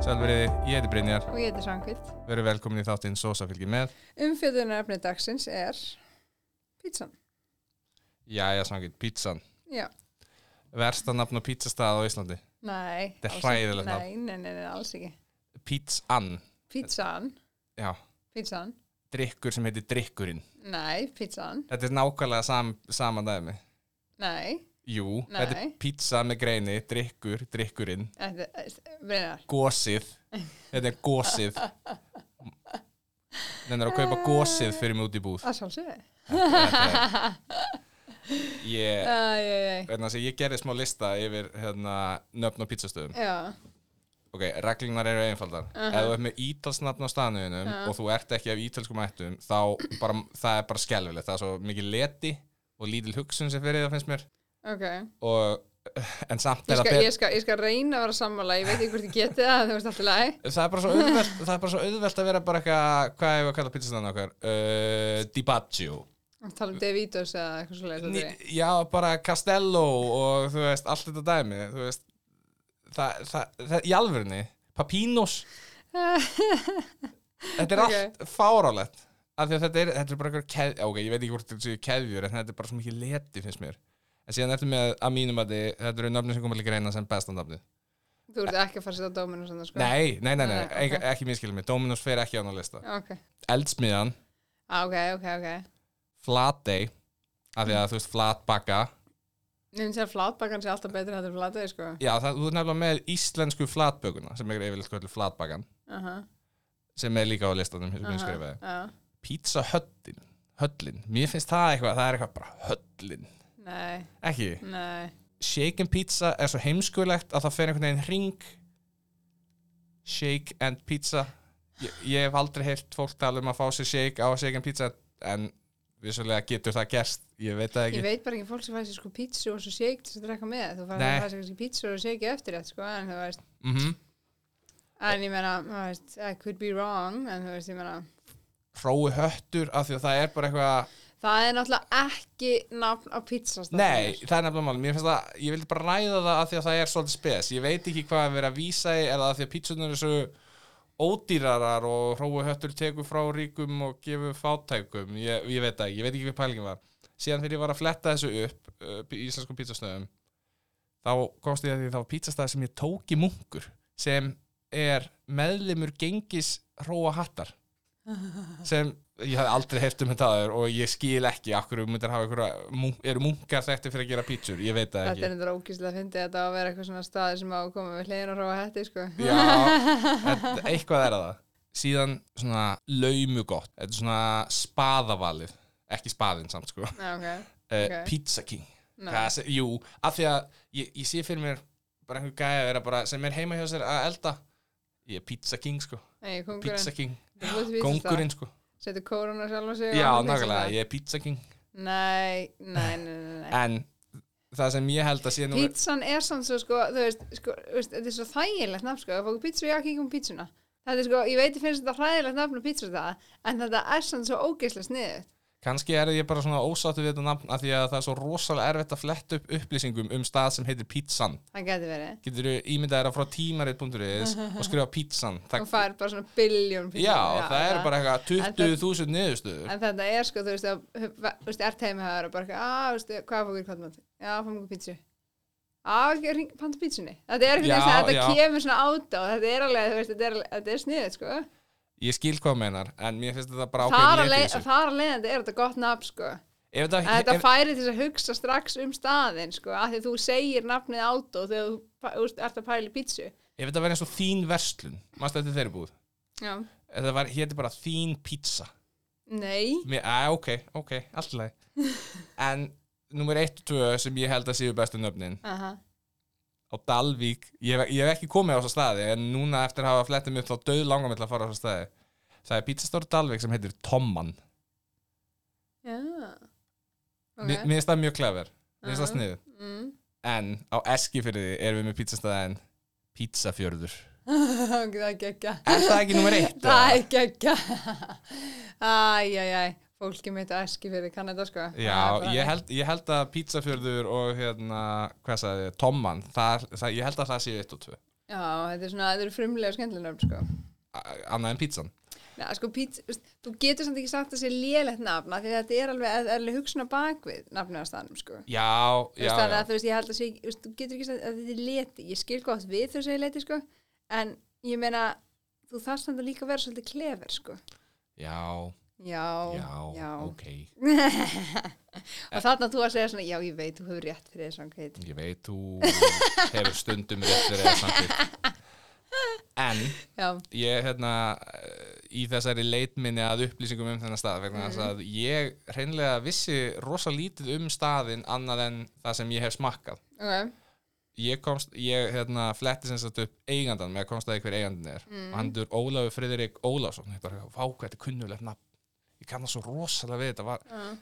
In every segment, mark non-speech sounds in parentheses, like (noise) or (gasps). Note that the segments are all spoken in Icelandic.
Sælveriði, ég heiti Brynjar, Og ég heiti Svangvild. veru velkomin í þáttinn Sosa fylgir með. Umfjöldunarefni dagsins er pítsan. Jæja, samkvæmt, pizzan. Já, Versta nafn á pizzastað á Íslandi. nei. Þetta er alls hræðilegt ekki. nafn. Nei, nei, nei, nei, alls ekki. Pizzan, Pítsan, já, pítsan, drikkur sem heitir drikkurinn. nei, pítsan, Þetta er nákvæmlega sam, sama dæmi. nei, Jú, Nei. þetta er pizza með greini, drikkur, drikkurinn, þetta er, breynar, gósið, þetta er gósið. Nennar að kaupa gósið fyrir mig út í búð. að sjálfsögðu. Þetta er, Æ, ég, æ, æ, vegna þess að ég gerði smá lista yfir hérna, nöfn á pizzastöðum. já, Ok, reglunar eru einfaldar. Ef þú ert með ítalsnafn á staðnöðinum og þú ert ekki af ítalskum ættum, þá bara, það er bara skelfilegt. Það er svo mikið leti og lítil hugsun sem fyrir það finnst mér. ok. Og, en samt Ég er skal, það ég, skal, ég skal reyna að vera sammála, ég veit ekki hvort ég geti það, þú veist alltaf læg. Það er, bara svo auðvelt, það er bara svo auðvelt að vera bara eitthvað, hvað hefur að kalla pizzastanna okkar? Uh, Dibaggio. Tala um Davidos eða eitthvað svo leið, Ný, já, bara Castello og þú veist, allt þetta dæmi. Þú veist, það, það, það, í alvörni, (laughs) Papinos. Þetta er Ok. allt fárálegt af því að þetta er, þetta er bara eitthvað keðjur ok, ég veit ekki hvort þetta séu keðjur en þetta er bara svo mikið leti finnst mér en síðan ertu með að mínum að þið, þetta eru nöfnum sem koma líka reyna sem besta nöfnum Þú ert ekki að fara að setja dóminu svona, sko. nei, nei, nei, nei, Nei, nei ok. okay. ekki, ekki minnskilum mig Dominos fer ekki á ná lista Ok, Eldsmiðan, ah, ok, ok, ok. Flatey af því að þú veist Flatbakka Nefnum sér flatbakkan sé alltaf betri hættur flatið, sko. já, það, þú er nefnilega með íslensku flatbökuna sem er yfirleitt kvöldu Flatbakkan Aha, sem er líka á listanum sem ég aha, skrifaði já. Pizza Höllin, Höllin, mér finnst það eitthvað það er eitthvað bara Höllin, Nei, ekki nei, shake and pizza er svo heimskulegt að það fer einhvern veginn ring shake and pizza ég, ég hef aldrei heyrt fólk tala um að fá sér shake á shake and pizza en vissulega getur það gerst ég veit það ég ekki veit bara ekki fólk sem fæði sér sko pítsu og svo shake til að drekka með, þú fæði Nei. sér kannski pítsu og shake eftir þetta sko, en þú veist, mm -hmm. en ég meina, þú veist, I could be wrong, en þú veist, ég meina, hrói höttur af því að það er bara eitthvað það er náttúrulega ekki nafn á pítsast. nei, það er nefnilega mál, mér finnst það ég vildi bara ræða það af því að það er svolítið spes ég veit ekki hvað er verið að vísa í er það af því að pítsunar er svo ódýrarar og hrói höttur tekur frá ríkum og gefur fátækum ég, ég veit það ekki, ég veit ekki hvað pælingin var síðan þegar ég var að fletta þessu upp uh, í íslenskum pítsastöðum þá komst ég að því að það var pítsastæð sem ég tók í munkur sem er meðlimur gengis hróa (laughs) hattar sem ég hafði aldrei heyrt um þetta aður og ég skil ekki akkur myndir hafa einhverja munk, eru munkar þekkti fyrir að gera pítsur, ég veit það Þetta ekki er endur ógíslega að fyndi þetta á að vera eitthvað svona staði sem á að koma við hliðin og róa hætti, sko. (laughs) Já, þetta- eitthvað er að það síðan svona laumugott þetta er svona spaðavalið ekki spaðin samt sko Já, ok. okay. Ok. Pizza King Nei. Það sem- Jú, af því að ég, ég sé fyrir mér bara einhver gæja að vera bara sem er heima hjá sér að elda ég er Pizza King sko, Nei, Pizza kongurinn. King Kongurinn. Kongurinn sko, Setur kórun á sjálf og sig. já nákvæmlega ég er Pizza King, Nei, nei, nei, nei, nei. en það sem ég held að sé nú Pizzan er samt svo sko, þú veist, sko, þú veist þetta er svo þægilegt nafn sko, að fá pizzu og jakki ekki um pizzuna. Þetta er sko, ég veit ég finnst þetta hræðilegt nafn og pizzu það, en þetta er samt svo ógeislega sniðið. kannski er ég bara svona ósáttu við þetta nafn af því að það er svo rosalega erfitt að fletta upp upplýsingum um stað sem heitir Pizzan Það geti verið. getur þú ímyndað þér að frá (laughs) tímarit.is og skrifa Pizzan Og það, fær bara svona biljón pizzu. já, það eru bara eitthvað 20.000 niðurstöður En þetta er sko, þú veist, að, þú veist, ert heimi það og bara, eitthvað, að, þú veist, hvað fókur kvöldmátt? Já, fór mjög pizzu. Á, ekki ring, panta pítsunni. Þetta er ekki Já, þess að þetta já. kemur svona át á, þetta er alveg, þú veist, þetta er, alveg- þetta er sniðið, sko. ég skil hvað þú meinar en mér finnst þetta bara Þar ákveðin að leti í leið- þessu. þar að leiðandi er þetta gott nafn, sko. Ef þetta, að þetta ef, færi til þess að hugsa strax um staðinn sko, að því þú segir nafnið átó þegar þú pa- þú ert að pæla í pítsu ef þetta væri eins og þín verslun Manstu þetta þeirri búð já, Ef Þetta var, héti bara þín pizza nei Mér, að, Ok, ok, allt í lagi (laughs) En nummer 1 og 2 sem ég held að séu bestu nöfnin Aha. á Dalvík, ég hef, ég hef ekki komið á þessa staði en núna eftir að hafa flettið mig upp þá döð langar mig til að fara á þessa staði Það er pizzastóri Dalvík sem heitir Tomman já okay. ok Mér mér finnst það mjög klefur, mér finnst það Já. sniðu mm. En á Eskifyrði erum við með pizzastæðin Pizzafjörður (laughs) ok, það er geggja Er það ekki nummer 1? það er (laughs) geggja æjæjæ fólki mitt að eski fyrir kann þetta sko Það er Já, bara- ég held, ég held að pizzafjörður og hérna, hvað sagði, ég, tomman, það, það, ég held að það sé 1 og 2. Já, þetta er svona, þetta eru frumlega skemmtilega nöfn, sko. A- annað en pizzan Já, sko, pít, veist, þú getur samt ekki sagt að sé lélegt nafn, af því að þetta er alveg eð- eðlileg hugsun á bakvið nafnið á staðnum, sko. já, já, Þú veist, þannig já. að þú veist, ég held að sé, þú veist, þú getur ekki sagt að þetta er leti, ég skil gott við þau segir leti, sko, en ég meina, þú þarft samt að líka að vera svolítið klefer, sko. já, Já, já, já. ok Og þarna þú að segja svona, já, ég veit, þú hefur rétt fyrir þessan kveit. ég veit, (laughs) þú hefur stundum rétt fyrir eða samkvæmt en Já, ég hérna eh, í þessari leitminni að upplýsingum um þennan stað vegna Mhm. þess að ég hreinlega vissi rosa lítið um staðin annað en það sem ég hef smakkað ok, ég komst, ég hérna fletti sem sagt upp eigandan með að komst að því hver eigandin er Mm. Mhm. og hann dur Ólafur Friðrik Ólafsson ég bara, vá hvað þetta er kunnulegt nafn ég kann það svo rosalega við þetta var,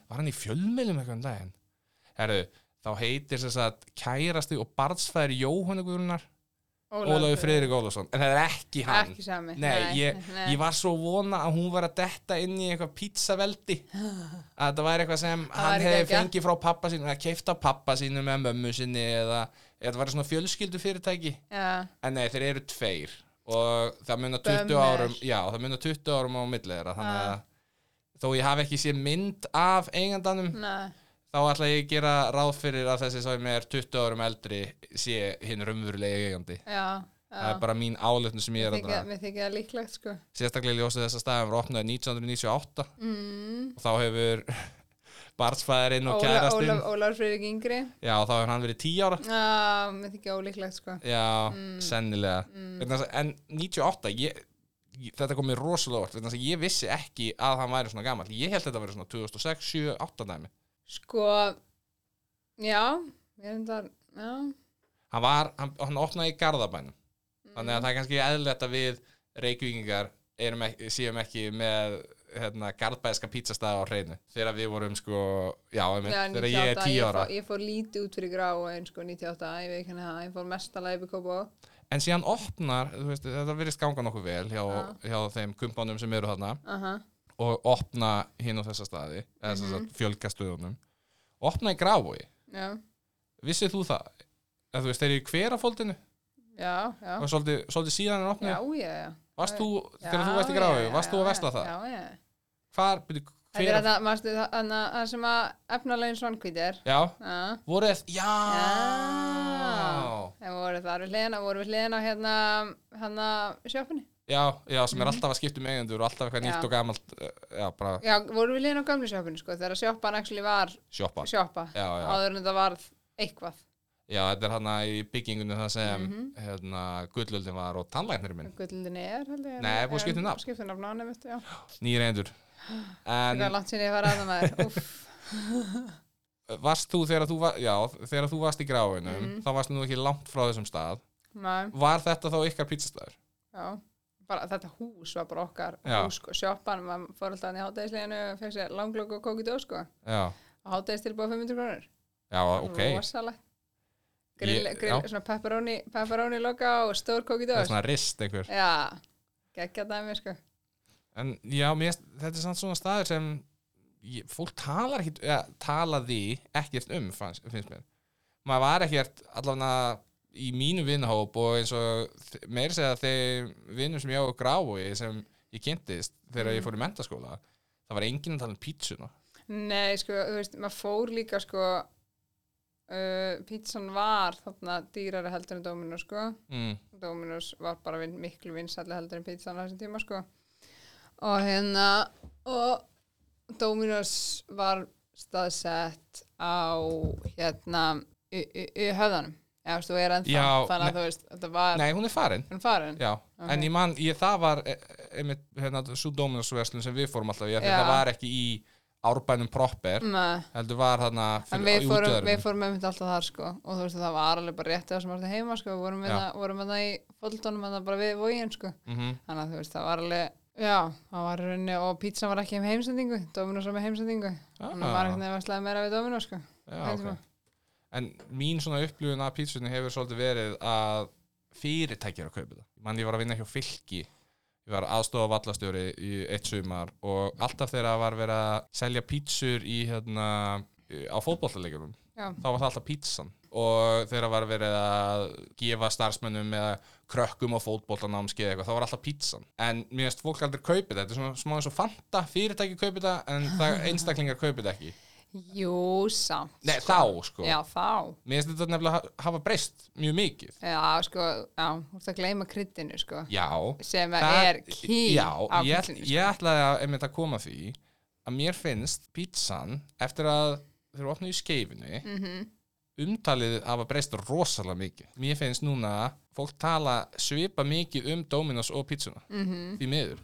var hann í fjölmiðlum eitthvað um daginn herru, þá heitir sem sagt kærasti og barnsfæðir Jóhannu Guðrunar Ólafur Friðrik Ólafsson en það er ekki hann Ekki sami. Nei, ég, nei. ég var svo vona að hún var að detta inn í eitthvað pizzaveldi að þetta væri eitthvað sem hann væri hefði geggjað. fengið frá pappa sínu eða keift af pappa sínu með mömmu sinni eða eða þetta væri svona fjölskyldu fyrirtæki Já, en nei, þeir eru tveir og það munar 20 Bömmur. árum já, það munar 20 árum á milli þeirra þannig að þó ég hafi ekki séð mynd af eigandanum næ, þá ætla ég að gera ráð fyrir að þessi sem er 20 árum eldri sé hinn rumvurulegi eigandi já, það er já. bara mín álutn sem Ah. ég er Mér að draga þykja- Mér þykja það líklegt, sko. sérstaklega í ljósið þess að staðan var opnaði 1998 Mm. og þá hefur (laughs) barnsfæðurinn og Óla, kærastinn Óla, Óla Friðrik yngri. já, þá hefur hann verið 10 ára Já, mér þykja ólíklegt, sko. já, sennilega mm. en 98, ég, ég, þetta kom mér rosalega óvart, vegna þess að ég vissi ekki að hann væri svona gammal, ég held þetta að vera svona 2006, 7, 8 dæmi Sko, já, ég er þetta, já, hann var, hann, hann opnaði í Garðabænum þannig að það er kannski eðlilegt að við reykvíkingar erum ekki, séum ekki með hérna, garðbæðska pítsastæða á hreinu þegar við vorum sko, já, einmitt, já þegar ég er 98, 10 ára Mm, Ég fór, ég fór lítið út fyrir grá en sko 98, ég veit ekki hann það, ég fór mest að læfi kópa en síðan opnar, þú veist, þetta virðist ganga nokkuð vel hjá, hjá þeim kumpanum sem eru þarna Aha, og opna hinn á þessa staði eða þess að fjölga stöðunum opna í gráfói, já, vissið þú það? Eða, þú veist, þeir eru í hverafóldinu já, já, og svolítið, svolítið síðan en já, opnaði já, já. varst þú, Já, þegar þú varst í já, gráfói, já, varst þú já, að vesla það? Já, já, Hvar, byrju, þetta er hver þetta, mástu það það sem að efnalegin svankvít er, já, já, voru þess, já Já. það voru þar við hliðina, voru við hliðina á hérna, hérna sjöpunni, já, já, sem er alltaf að skipta um eigendur og alltaf eitthvað Já. nýtt og gamalt eh, já, bara já, voru við hliðina á gamli sjöpunni, sko, þegar sjöpan actually var sjoppa já, sjoppa, já, áður en þetta varð eitthvað, já, þetta er hana í byggingunni það sem Mhm. hérna, gullöldin var og tannlæknirinn minn gullundin er, held ég, Nei, búið að skipta um nafn. skiptum nafn á henni, veistu, já, nýr (gasps) eigendur það er en langt sinni að fara að það maður, (laughs) uff, varst þú þegar þú, var, já, þegar þú varst í gráinu Mhm. þá varst nú ekki langt frá þessum stað maður, var þetta þá ykkar pizzastæður? Já, bara þetta hús var bara okkar Já. hús sko, sjoppan, maður fór alltaf hann í hátæðisleginu og fekk sér langlöku og kókið dós sko já, og hátæðistilbúið 500 krónur já, Ah, ok rosalegt grill, Ég- grill, já. svona pepperoni, pepperoni loka og stór kókið það er dós svona rist einhver já, geggja dæmi sko en já, mér, þetta er samt svona staður sem ég, fólk talar ekki ja, talaði ekkert um fannst, finnst mér maður var ekkert allavega í mínu vinnhóp og eins og þ- meira segja þeir vinnum sem ég á að gráu sem ég kynntist þegar ég fór í mentaskóla það var enginn að tala um pítsuna nei sko, þú veist, maður fór líka sko uh, pítsan var þarna dýrari heldur en Dominos sko mm. Dominus var bara vin, miklu vinsalli heldur en pizzan á þessum tíma sko og hérna og Dominus var staðsett á hérna í, í, í höfðanum eða þú veist, og er ennþá Já, þannig að nei- þú veist þetta var nei, hún er farin hann farin Já, en ég man, ég, það var e- e- einmitt, hérna, svo Dominos-verslun sem við fórum alltaf í, af því Já. það var ekki í árbænum proper, Nei, heldur var þarna en fyrir- við í fórum, útjaðrinum. við fórum einmitt alltaf þar sko og þú veist það var alveg bara réttið sem var þetta heima sko, vorum við Já. það, vorum við það í fóldónum en það bara við vógin sko Mhm. þannig að þú veist það var alveg já, það var í rauninni og pizza var ekki um heimsendingu Dominus var með heimsendingu þannig Ah. að maður eitthvað veslaði meira við Dominus sko. Já, Heldur ok. maður. En mín svona upplifun af pítsunni hefur svolítið verið að fyrirtæki eru að kaupa það. Mann, ég var að vinna hjá fylki, ég var aðstofa vallastjóri í eitt sumar og alltaf þegar það var verið að selja pítsur í, hérna, á fótbollalegjumum, Já. þá var það alltaf pítsan. Og þegar það var verið að gefa starfsmönnum eða krökkum og fótboltanámskeið eitthvað, það var alltaf pizzan en mér finnst fólk aldrei kaupið þetta, þetta er svona smá eins og fanta fyrirtæki kaupið þetta (laughs) en það einstaklingar kaupið þetta ekki Jú, samt. Nei, sko. þá sko Já, þá. Mér finnst þetta nefnilega ha- hafa breyst mjög mikið Já, sko, já, þú ert að gleyma kryddinu, sko, Já, sem Það- er ký já, á ég, kryddinu, sko. ég ætlaði að, einmitt að koma að því að mér finnst pizzan eftir að þeir opnuðu í skeifinu Mhm. umtalið hafa breyst rosalega mikið mér finnst núna fólk tala svipa mikið um Dominos og pizzuna Mhm. því miður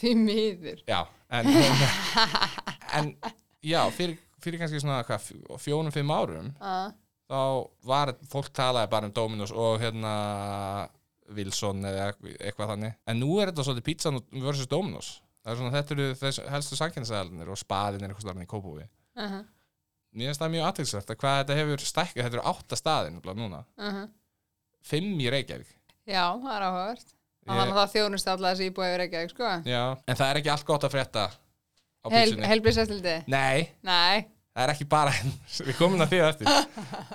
Því miður. já, en, hérna- (laughs) en já, fyrir, fyrir kannski svona hvað, fjónum, fimm árum Uh, þá var, fólk talaði bara um Dominos og hérna Wilson eða eitthvað þannig en nú er þetta svolítið pizzan versus Dominos það er svona, þetta eru þess, helstu sannkjænsæðalinnir og spaðin er eitthvað starfinn í Kópúi uh -huh, mér finnst það mjög aðtilsvært að hvað þetta hefur stækkað, þetta eru átta staðin nefnilega núna, fimm í Reykjavík Já, það er áhugavert. Og Ég- þannig að það þjónust alltaf þessi íbúið yfir ekki, sko. já, en það er ekki allt gott að frétta á Hel, pizzunni Helblisestildi? nei, Nei. það er ekki bara (laughs) við komum að því á (laughs) eftir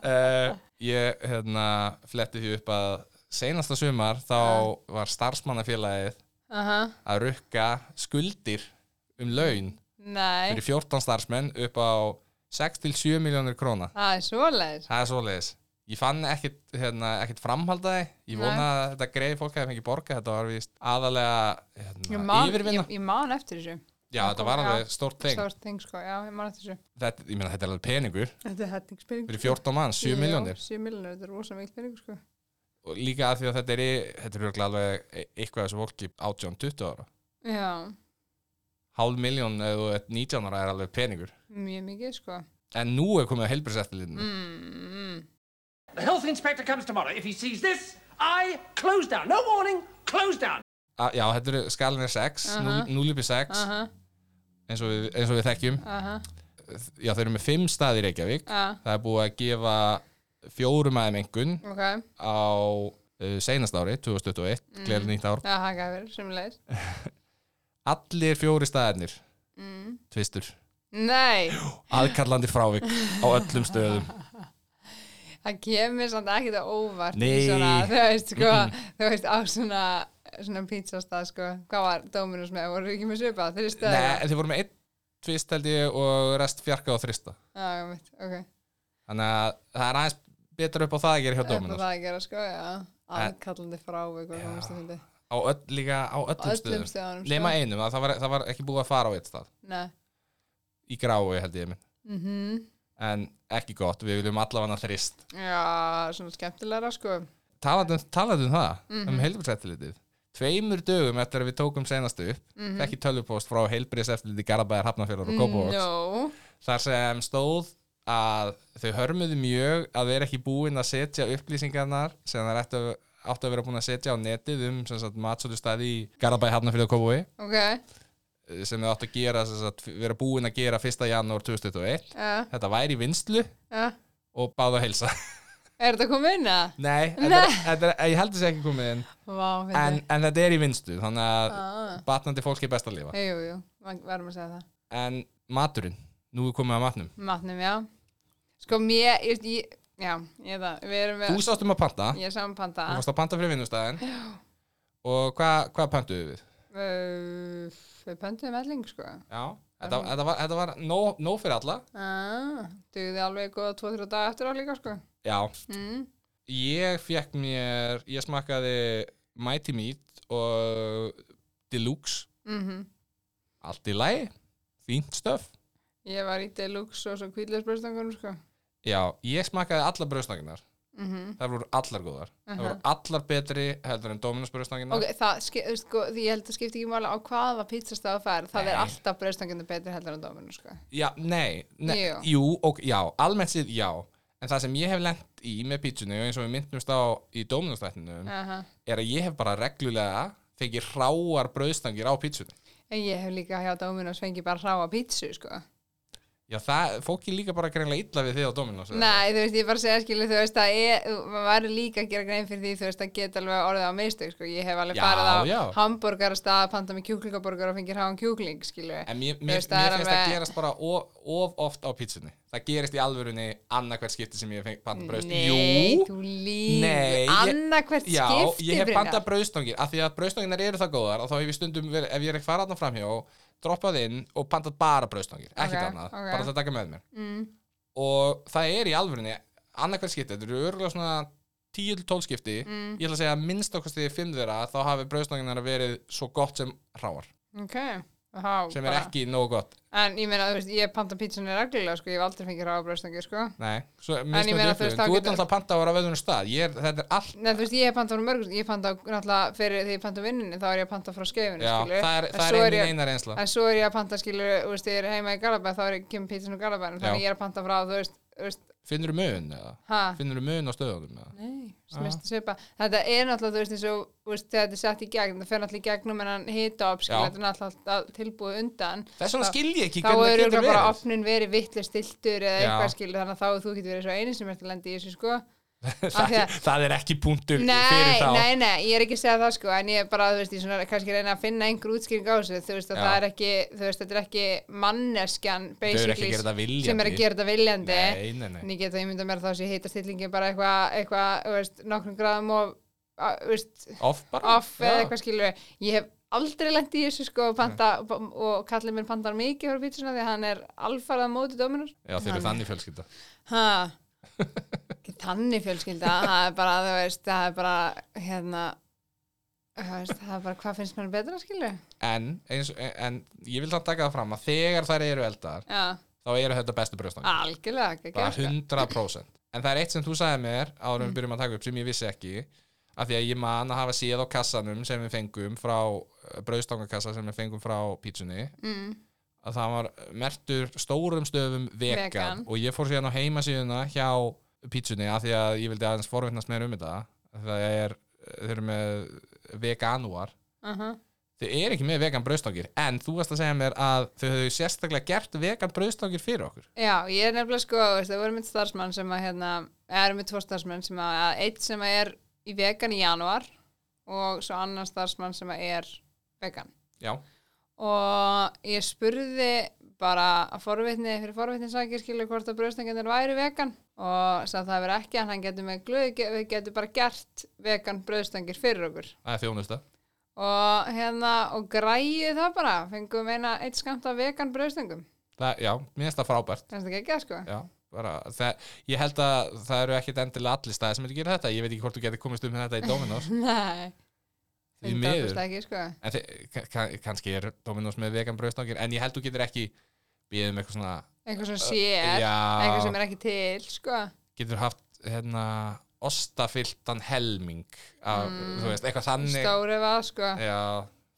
uh, ég hérna fletti því upp að seinasta sumar þá var starfsmannafélagið Uh -huh. að rukka skuldir um laun Nei. fyrir 14 starfsmenn upp á 6-7 miljónir króna Það er svoleiðis. það er svoleiðis ég fann ekkit, hérna, ekkit framhaldaði ég vona Nei. að þetta greið fólk hefði fengið borga þetta var víst aðalega Ég hérna, man, yfirvinna ég, ég man eftir þessu. já þetta var Já. alveg stórt þing Stórt þing, sko. Já, ég man eftir þessu. þetta, ég meina þetta er alveg peningur Þetta er hættingspenning. fyrir 14 mann, 7 miljónir 7 miljónir, þetta er rosa mikil penning, sko. og líka að því að þetta er í- þetta er örugglega alveg e- eitthvað þessu fólki 18-20 ára Já, hálf miljón eða þú ert 19 ára er alveg peningur mjög mikið, sko. en nú er komið að heilbríseftilinu mm. Mm. The health inspector comes tomorrow. If he sees this, I close down. No warning, close down. já, þetta er skalin er 6 uh Aha. 0,6 Aha, eins, og við- eins og við þekkjum aha, já, þeir eru með 5 staði í Reykjavík já, það er búið að gefa fjórum aðeim engun ok. á uh, seinast ári 2021, mm. nýtt ár Já, það gæði verið, sem leir. allir fjóri staðirnir Mm. tvistur, Nei, aðkallandi frávik á öllum (laughs) stöðum það kemur samt ekki það óvart í Nei. svona, þú veist, sko, þú veist, á svona, svona pizzastað, sko, hvað var Dominus með, voru ekki með svipað, þeir stöðu. Nei, en þið voru með einn tvist held ég og rest fjarka og þrista Já, ég veit, ok. þannig að það er aðeins betur upp á það að gera hjá Það er bara Dominos það að gera, sko, já. Aðkallandi frávik og komast að fyndi. á öll, líka á öllum Öllum stöðum stöðanum, sko. nema einum, að það var, það var ekki búið að fara á eitt stað Nei. í grái held ég minn Mhm. en ekki gott, við viljum allavega þrist Já, svona skemmtilegra, sko. talandi, talandi um það, um heilbríðseftilitið tveimur dögum eftir að við tókum senastu upp mm -hmm. ekki tölvupost frá heilbríðseftiliti Garabæðar, Hafnarfjörður og Kópavóks No. þar sem stóð að þau hörmuðu mjög að vera ekki búin að setja upplýsingarnar sem það ættu að, áttu að vera búin að setja á netið um sem sagt, matsölu staði í Garabæ Hafnafjörðu og Kópói Ok, sem þau áttu að gera, sem sagt, vera búin að gera 1. janúar 2021 já, þetta væri í vinslu já. og báðu að heilsa (laughs) Er þetta komið inn að? Nei, þetta, er- þetta, er- ég held þessi ekki komið inn Vá, en, fyndi. en þetta er í vinslu þannig að Ah. batnandi fólk er best að lifa Jú, jú, var- varum að segja það. en maturinn, nú er komið að matnum Matnum, já. Sko, mér, ég, ég já, ég það, við erum þú með, sást um að panta ég er saman panta. Þú fórst að panta fyrir vinnustæðin Og hvað hva pantuðu við? Uh, Við pöntum elling, sko. Já, þetta, þetta var, þetta var nóg, nóg fyrir alla Ah, dugði alveg góða 2-3 daga eftir á líka, sko. Já, Mm. ég fekk mér Ég smakkaði Mighty Meat og Deluxe, Mm allt í lagi Fínt stöf Ég var í deluxe og svo kvíðleisbröðstangunum, sko. Já, ég smakkaði allar brauðsnakinnar Mm Það voru allar góðar Það voru allar betri heldur en Dominus brauðsnakinnar Ok, það, ski- þú veist, sko, því ég held að skipta ekki mála á hvaða pítsastáð fær, það er Nei. alltaf bröðstangunum betri heldur en dóminu, sko. Já, nei, nei Jú. Jú, og já, almennt séð já En það sem ég hef lent í með pítsunni og eins og við myndumst á í Dominus-þættinum Aha. er að ég hef bara reglulega fengið hráar brauðstangir á pítsunni En ég hef líka hjá Dominos fengið bara hráa pítsu, sko. Já, það, fólki líka bara greinlega illa við þig á Dominos eða? Nei, þú veist, ég er bara að segja, skilu, þú veist, það er, þú- maður verður líka að gera grein fyrir því, þú veist, það geta alveg orðið á mistök, sko. Ég hef alveg Já, farið á já. hambúrgar að staða, panta með kjúklingaborgar og fengið hráan kjúkling, skilu. En mér, Þú mér, veist, það mér er finnst það alveg- gerast bara of, of oft á pítsunni það gerist í alvörunni annað hvert skipti sem ég hef bandað brauðst Nei, Jú, þú líf Nei, ég- Annað hvert já, skipti ég hef Brynjar. bandað brauðstangir af því að brauðstanginar eru það góðar að þá hef ég stundum, verið, ef ég er ekki farað þarna framhjá droppað inn og bandað bara brauðstangir ekkert Ok, annað, ok. Mm. bara það taka með mér og það er í alvörunni annað hvert skipti, þetta eru örgulega svona 10-12 skipti, Mm. ég ætla að segja að minnst okkar í fimm þeirra þá hafi brauðstanginar verið svo gott sem hráar Ok, þá sem er bara- ekki nógu gott En ég meina, þú veist, ég panta pítsunni reglulega, sko, ég hef aldrei fengið ráðbröðstangir, sko Nei, svo, en ég meina, þú veist, þá þú ert getur- alltaf panta að vera á veðunum stað ég er, þetta er allt Nei, þú veist, ég hef pantað úr mörgum, ég panta náttúrulega fyrir því ég panta vinninni, þá er ég að panta frá skeifinu, Já, skilur. það er, En það svo er einin ég- eina reynsla En svo er ég að panta, skilur, þú veist, ég er heima í Galabæ, þá er ég kemur pítsun úr Galabæ, Já. þannig ég er að panta frá, þú veist, þú veist, Finnur mun eða? ha? Finnur mun á stöðunum eða? Nei, Ah. smist að svipa. Þetta er náttúrulega, þú veist, eins og, þú veist, þegar þetta er sett í gegn, um það fer náttúrulega í gegnum en hann hita upp, Já. skilur, þetta er náttúrulega allt tilbúið undan. Þess vegna Þá- skil ég ekki Þá hvernig er það örugglega getur verið bara opnin verið vittlega stiltur eða Já. eitthvað skilur, þannig að þá hefur þú getur verið svo eini sem ert að lenda í þessu, sko. af það, því er- það er ekki punktur fyrir Nei, þá nei, nei, ég er ekki að segja það sko en ég er bara, þú veist, ég svona kannski reyna að finna einhver útskýring á þessu, þú veist, að Já. það er ekki þú veist, þetta er ekki manneskjan Þau eru ekki basically að gera þetta viljandi sem er að gera þetta viljandi Nei, nei, nei en ég geta, ég mynda mér þá sé heita stillingi bara eitthvað, eitthvað, þú veist, nokkrum gráðum og, að, þú veist, Off bara off eða Já. eitthvað skilur við. ég hef aldrei lent í þessu sko panta, og kallið minn pantar mikið fyrir pítsuna því að hann er alfarðað móti dóminur Já, þau eru þannig fjölskylda Ha, (laughs) ekki þannig fjölskylda, það er bara, þú veist, það er bara, hérna, þú veist, það er bara, hvað finnst mér betra, skilju? en, eins, en ég vil samt taka það fram að þegar þær eru eldar Já, þá eru þetta bestu brjóstangir algjörlega, ekki, bara ekki, 100% en það er eitt sem þú sagði mér áður Mm. en við byrjum að taka upp sem ég vissi ekki af því að ég man að hafa séð á kassanum sem við fengum frá eh, brauðstangakassa sem við fengum frá pítsunni mm, að það var mertur stórum stöfum vegan, Vegan. og ég fór síðan á heimasíðuna hjá pítsunni af því að ég vildi aðeins forvittnast meira um þetta það er, þeir eru með veganúar uh -huh. þau eru ekki með vegan brauðstangir en þú varst að segja mér að þau höfðu sérstaklega gert vegan brauðstangir fyrir okkur Já, ég er nefnilega sko, þú veist, það voru með starfsmann sem að, hérna, eða erum með tvo starfsmann sem að, að eitt sem að er í vegan í janúar og svo annan starfsmann sem að er vegan. já, og ég spurði bara að forvitni fyrir forvitni sagði skilur hvort að brjóðstengarnir væri vegan og sagði að það verið ekki en hann getur með glöð við getum bara gert vegan brjóðstengir fyrir okkur það er þjónusta og hérna og græði það bara fengum eina eitt skamt af vegan brjóðstengum það, já, mér finnst það frábært finnst það ekki að sko já, bara, það, ég held að það eru ekkit endilega allir staði sem er að gera þetta ég veit ekki hvort þú getur komist um með þetta í (laughs) Dominos nei, því finnst miður það ekki sko en þi, ka- ka- kannski er Dominos með vegan brauðstangir en ég held þú getur ekki beðið um eitthvað svona einhver sem sér, einhver sem já, er ekki til sko, getur haft hérna ostafylltan helming af, Mm, þú veist, eitthvað þannig stóru var sko já,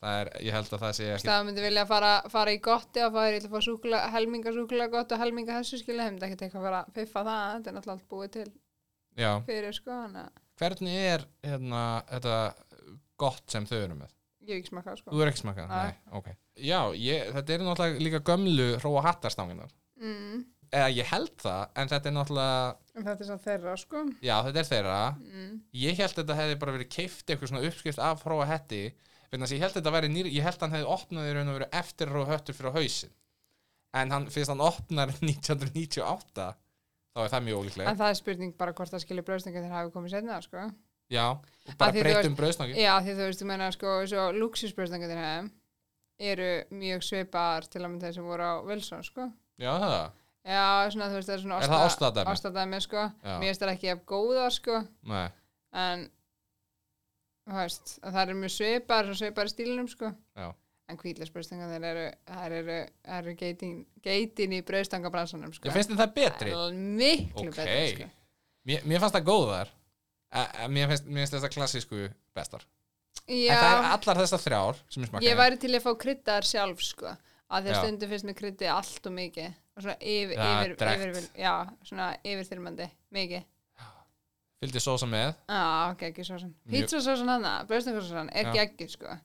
það er, ég held að það sé Þú ekki veist, það myndi vilja fara, fara í gotti og fara í að fá súkula, helminga súkula gott og helminga þessu skilja heim, það er ekkert eitthvað að fara að piffa það, þetta er náttúrulega allt búið til já. fyrir sko, þannig að hvernig er hérna, þetta gott sem þau eru með ég hef ekki smakað sko. Þú er ekki smakað? Nei. Nei, ok. Já, ég, þetta eru náttúrulega líka gömlu hróa hattarstanginar. Mm, Eða ég held það, en þetta er náttúrulega, en þetta er svo þeirra sko. já þetta er þeirra. Mm, Ég held þetta hefði bara verið keift eitthvað svona uppskrift af hróa hetti, vegna þess að ég held þetta væri nýr, ég held hann hefði opnað í raun og verið eftir hróa höttur fyrir á hausin. En hann, fyrst hann opnar (laughs) 1998, þá er það mjög ólíklegt. en það er spurning bara hvort það skilja bröðstengar þegar hafi komið setna sko. Já, og Af bara um því þú breytum brauðsnakið. Já, því þú veist, þú meina sko, svo luxusbröðstengar þeirra heim eh, eru mjög svipaðar til að mynda þeir sem voru á Wilson sko. Já, það. Já, svona, þú veist, það er svona Er það ástadæmi? ástadæmi sko. Já. Mér finnst það ekki af góða sko. Nei. en þú veist, að það eru mjög svipar svo svipar í stílinum sko Já. en kvítlasbröðstanga þeir eru þær eru, þær eru geitin, geitin í bröðstangabransanum sko Ég finnst þetta betri. Það er miklu Ok. betri sko. Mér, mér fannst það góðar A- a- Mér finnst, mér finnst þessar klassísku bestar En það er Já, allar þessar þrjár sem ég smakka ég væri til að fá kryddaðar sjálf sko að því Já. að stundu finnst mér kryddið allt og mikið og svona yfir, Já, yfir, drekkt. yfir, já, svona yfirþyrmandi mikið Fylgdi sósa með Já, ok, ekki svo sann Mjög- Pítsasósan hana, bröðstangasósan, er Já. ekki ekki sko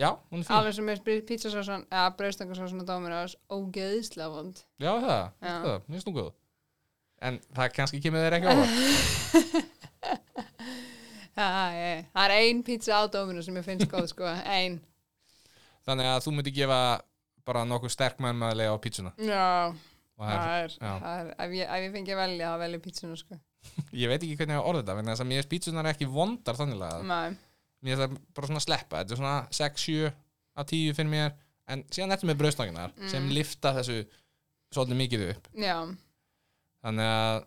Já, hún er fín alveg sem er pítsasósan eða brauðstangasósan og Dominos ógeðislega vond Já, það, Já. það, mér finnst hún góð En það kannski kemur þér ekki á (laughs) óvart. Ha, ég- það er ein pizza á Dominos sem ég finnst góð sko, ein Þannig að þú myndir gefa bara nokkuð sterk mannmaðlega á pítsuna já, Og það það er, já. það er ef, ég, ef ég fengi að velja að velja pítsuna sko er, ég veit ekki hvernig ég á að orða þetta, vegna þess að mér er pítsunar ekki vondar þannig lagað. Nei, Mér er það bara svona að sleppa, þetta er svona 6, 7 af 10 fyrir mér, en síðan ertu með brauðstanginar Mm. sem lifta þessu svolítið mikið upp. já Þannig að,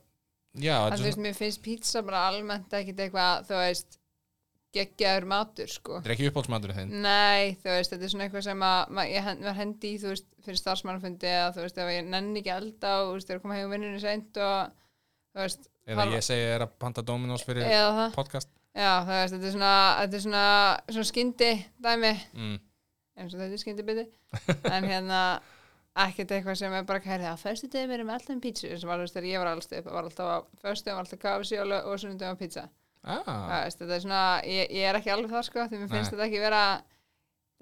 já, þetta það er þú svona- veist, mér finnst pítsa bara almennt ekkit eitthvað, þú veist geggjaður matur sko þetta er ekki uppáhaldsmaturinn þinn. Nei, þú veist, þetta er svona eitthvað sem að ma- ég hend, var hendi í, þú veist, fyrir starfsmannafundi eða þú veist, ef ég nenni ekki elda og þú veist, þegar koma heim vinnunni seint og þú veist, Eða Hal- ég segi þér að panta Dominos fyrir eða það podcast. Já, þú veist, þetta er svona, þetta er svona, svona skyndi dæmi, Mm. eins og þetta er skyndi biti, en hérna ekkert eitthvað sem er bara kærið að fyrstu degi verið með alltaf um pítsu, eins og var, þú veist, þegar ég var alltaf upp, var alltaf að fyrstu degi var alltaf kafsi og, lög- og sunnudegi var pítsa. Ah, Ah. Veist, þetta er svona, ég, ég er ekki alveg þar, sko, því mér Nei. finnst þetta ekki vera,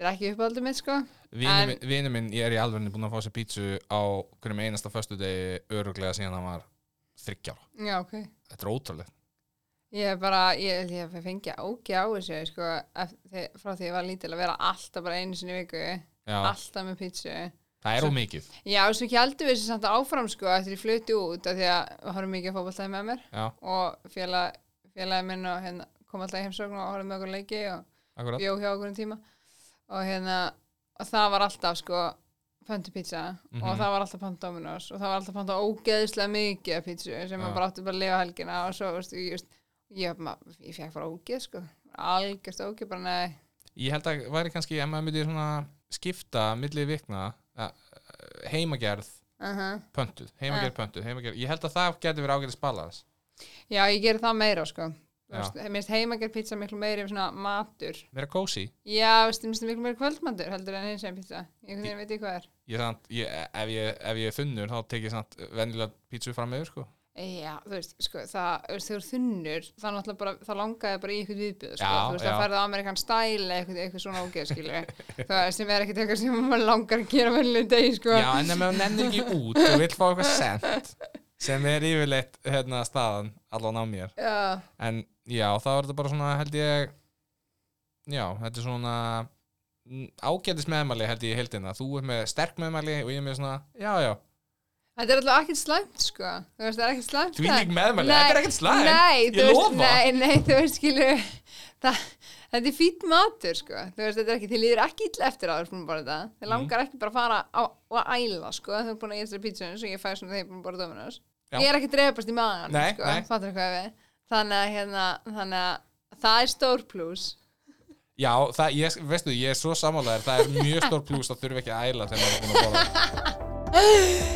þetta er ekki uppáldum mitt, sko. Vinur En- minn- vinur minn, ég er í alvegni búin að fá sér pítsu á hverjum einasta föstu degi öruglega síðan hann var þryggjára. Já, ok. Þetta er ótrúlega. Ég er bara, ég, ég fengi ágja á þessu, sko, eftir, frá því ég var lítil að vera alltaf bara einu sinni í viku, Já, alltaf með pítsu. það er ómikið. Já, svo heldum við þessu samt áfram sko eftir ég flutti út af því að við horfum mikið að fótboltaði með mér Já, og félag, félagi minn og hérna, kom alltaf í heimsókn og horfum með okkur leiki og akkurat. bjó hjá okkur um tíma og hérna, og það var alltaf sko pöntu pizza og Mhm. það var alltaf pöntu Dominos og það var alltaf pöntu ógeðslega mikið af pizzu sem Já. maður bara átti bara að lifa helgina og svo, veistu, ég, just, ég, maður, ég fekk bara ógeð sko, algjörst ógeð bara nei, Ég held að væri kannski, ef maður myndi svona skipta milli vikna, eh, heimagerð uh pöntuð, heimagerð pöntuð, heimagerð. Ég held að það geti verið ágætis balans. já, ég geri það meira sko, Já. Vist, minnst heimagerð pizza miklu meiri svona matur Verið kósi. Já, veistu, minnst það miklu meira kvöldmandur heldur en hins veginn pizza. Ég hvernig veit ég hvað er. Ég, samt, ég, ef, ég, ef ég er þunnur, þá tek ég samt venjulega pítsu fram meður, sko. Já, þú veist, sko, það, þú veist, þegar þú ert þunnur, þá náttúrulega bara, þá langaði bara í eitthvað viðbjöð, sko, Já, þú veist, já. það færði Amerikan stæl eitthvað, eitthvað svona ógeð, skilur (laughs) það sem er ekkit eitthvað sem maður langar að gera vennileg degi, sko. Já, en ef maður nennir ekki út og vill fá eitthvað sent sem er yfirleitt hérna staðan allan á mér Já, en já, þá er þetta bara svona held ég já, þetta er svona mm, ágætis meðmæli held ég í heildina þú er með sterk meðmæli og ég er með svona já, já, þetta er alltaf ekkit slæmt, sko, þú veist, það er ekkit slæmt. því lík það. meðmæli, Nei, þetta er ekkert slæm nei, þú ég veist, lofa nei, nei, þú veist, skilur það, þetta er fýtt matur sko. þú veist, þetta er ekki, þið líður ekki illa eftir að þú ert búin að borða þetta, Mhm. þið langar ekki bara að fara á, og að æla, sko, þú ert búin að ég þessari pítsun eins og ég fæ svona þegar ég er búin að borða Dominos Já. ég er ekki að dreipast í maðan Nei, sko, nei. fattar hvað ég við þannig að, hérna, þannig að það er stór plus já, það, ég, veistu, ég er svo sammálaður það er mjög stór plús að þurfa ekki að æla þegar maður er búin að borða